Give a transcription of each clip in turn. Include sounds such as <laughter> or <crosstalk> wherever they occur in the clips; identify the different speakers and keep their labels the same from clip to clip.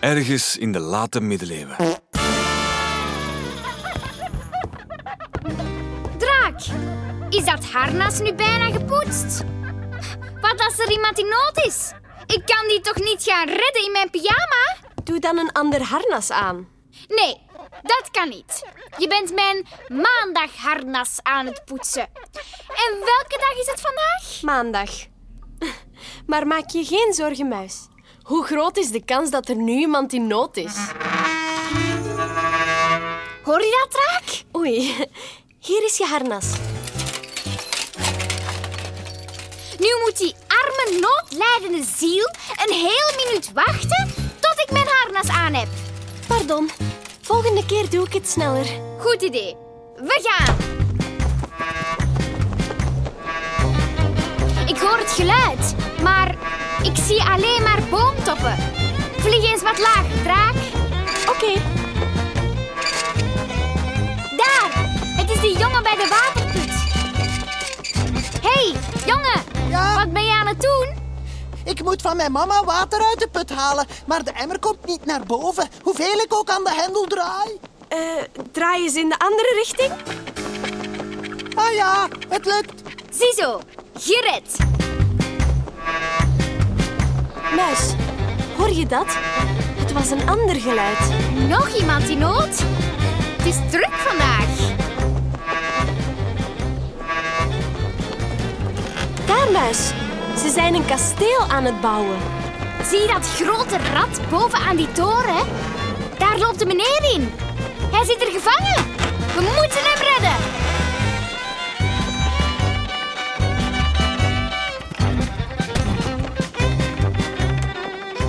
Speaker 1: ergens in de late middeleeuwen.
Speaker 2: Draak, is dat harnas nu bijna gepoetst? Wat als er iemand in nood is? Ik kan die toch niet gaan redden in mijn pyjama?
Speaker 3: Doe dan een ander harnas aan.
Speaker 2: Nee, dat kan niet. Je bent mijn maandagharnas aan het poetsen. En welke dag is het vandaag?
Speaker 3: Maandag. <laughs> Maar maak je geen zorgen, muis. Hoe groot is de kans dat er nu iemand in nood is?
Speaker 2: Hoor je dat, Draak?
Speaker 3: Oei, <laughs> hier is je harnas.
Speaker 2: Nu moet die arme, noodlijdende ziel een hele minuut wachten tot ik mijn harnas aan heb.
Speaker 3: Pardon, volgende keer doe ik het sneller.
Speaker 2: Goed idee. We gaan. Ik hoor het geluid, maar ik zie alleen maar boomtoppen. Vlieg eens wat lager, draak.
Speaker 3: Oké,
Speaker 2: Daar, het is die jongen bij de waterput. hey, jongen.
Speaker 4: Ja?
Speaker 2: Wat ben je aan het doen?
Speaker 4: Ik moet van mijn mama water uit de put halen, maar de emmer komt niet naar boven. Hoeveel ik ook aan de hendel draai.
Speaker 3: eh, draai eens in de andere richting.
Speaker 4: Ah ja, het lukt.
Speaker 2: Ziezo, gered.
Speaker 3: Muis, hoor je dat? Het was een ander geluid.
Speaker 2: Nog iemand in nood? Het is druk vandaag.
Speaker 3: Daar, muis. Ze zijn een kasteel aan het bouwen.
Speaker 2: Zie je dat grote rad boven aan die toren? Daar loopt de meneer in. Hij zit er gevangen. We moeten hem redden.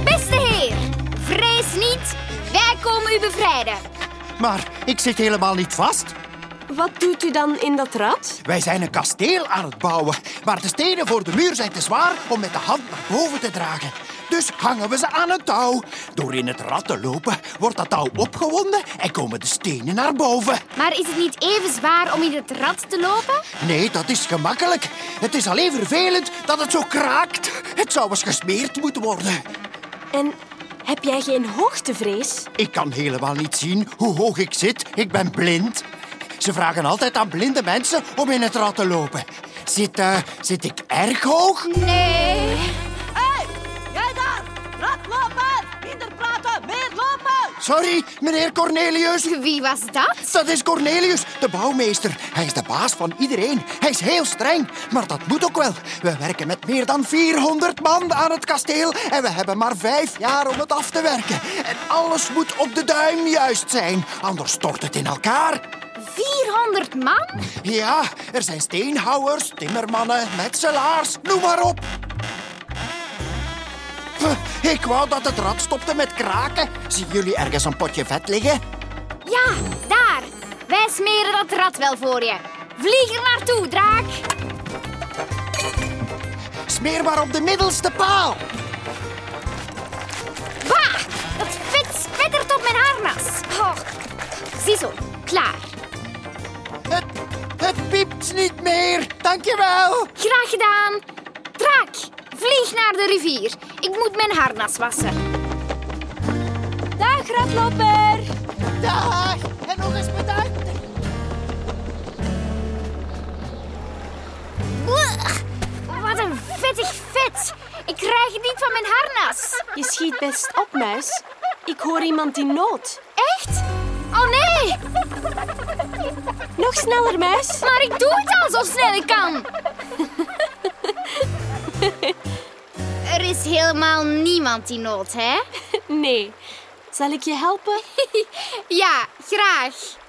Speaker 2: Beste heer, vrees niet. Wij komen u bevrijden.
Speaker 4: Maar ik zit helemaal niet vast.
Speaker 3: Wat doet u dan in dat rad?
Speaker 4: Wij zijn een kasteel aan het bouwen, maar de stenen voor de muur zijn te zwaar om met de hand naar boven te dragen. Dus hangen we ze aan een touw. Door in het rad te lopen wordt dat touw opgewonden en komen de stenen naar boven.
Speaker 2: Maar is het niet even zwaar om in het rad te lopen?
Speaker 4: Nee, dat is gemakkelijk. Het is alleen vervelend dat het zo kraakt. Het zou eens gesmeerd moeten worden.
Speaker 3: En heb jij geen hoogtevrees?
Speaker 4: Ik kan helemaal niet zien hoe hoog ik zit. Ik ben blind. Ze vragen altijd aan blinde mensen om in het rad te lopen. Zit, eh, zit ik erg hoog?
Speaker 2: Nee.
Speaker 5: Jij daar! Rad lopen! Minder praten, meer lopen!
Speaker 4: Sorry, meneer Cornelius.
Speaker 2: Wie was dat?
Speaker 4: Dat is Cornelius, de bouwmeester. Hij is de baas van iedereen. Hij is heel streng, maar dat moet ook wel. We werken met meer dan 400 man aan het kasteel en we hebben maar vijf jaar om het af te werken. En alles moet op de duim juist zijn, anders stort het in elkaar.
Speaker 2: 400 man?
Speaker 4: Ja, er zijn steenhouwers, timmermannen, metselaars, noem maar op. Huh, Ik wou dat het rad stopte met kraken. Zien jullie ergens een potje vet liggen?
Speaker 2: Ja, daar. Wij smeren dat rad wel voor je. Vlieg er naartoe, draak.
Speaker 4: Smeer maar op de middelste paal.
Speaker 2: Bah, dat vet spettert op mijn harnas. Oh. Ziezo, klaar.
Speaker 4: Het, het piept niet meer. Dankjewel.
Speaker 2: Graag gedaan. Draak, vlieg naar de rivier. Ik moet mijn harnas wassen.
Speaker 3: Dag, radloper!
Speaker 4: Dag. En nog eens bedankt.
Speaker 2: Blech, wat een vettig vet. Ik krijg het niet van mijn harnas.
Speaker 3: Je schiet best op, muis. Ik hoor iemand in nood.
Speaker 2: Echt? Oh nee,
Speaker 3: Nog sneller, muis.
Speaker 2: maar ik doe het al zo snel ik kan. Er is helemaal niemand in nood, hè?
Speaker 3: Nee. Zal ik je helpen? <laughs>
Speaker 2: Ja, graag.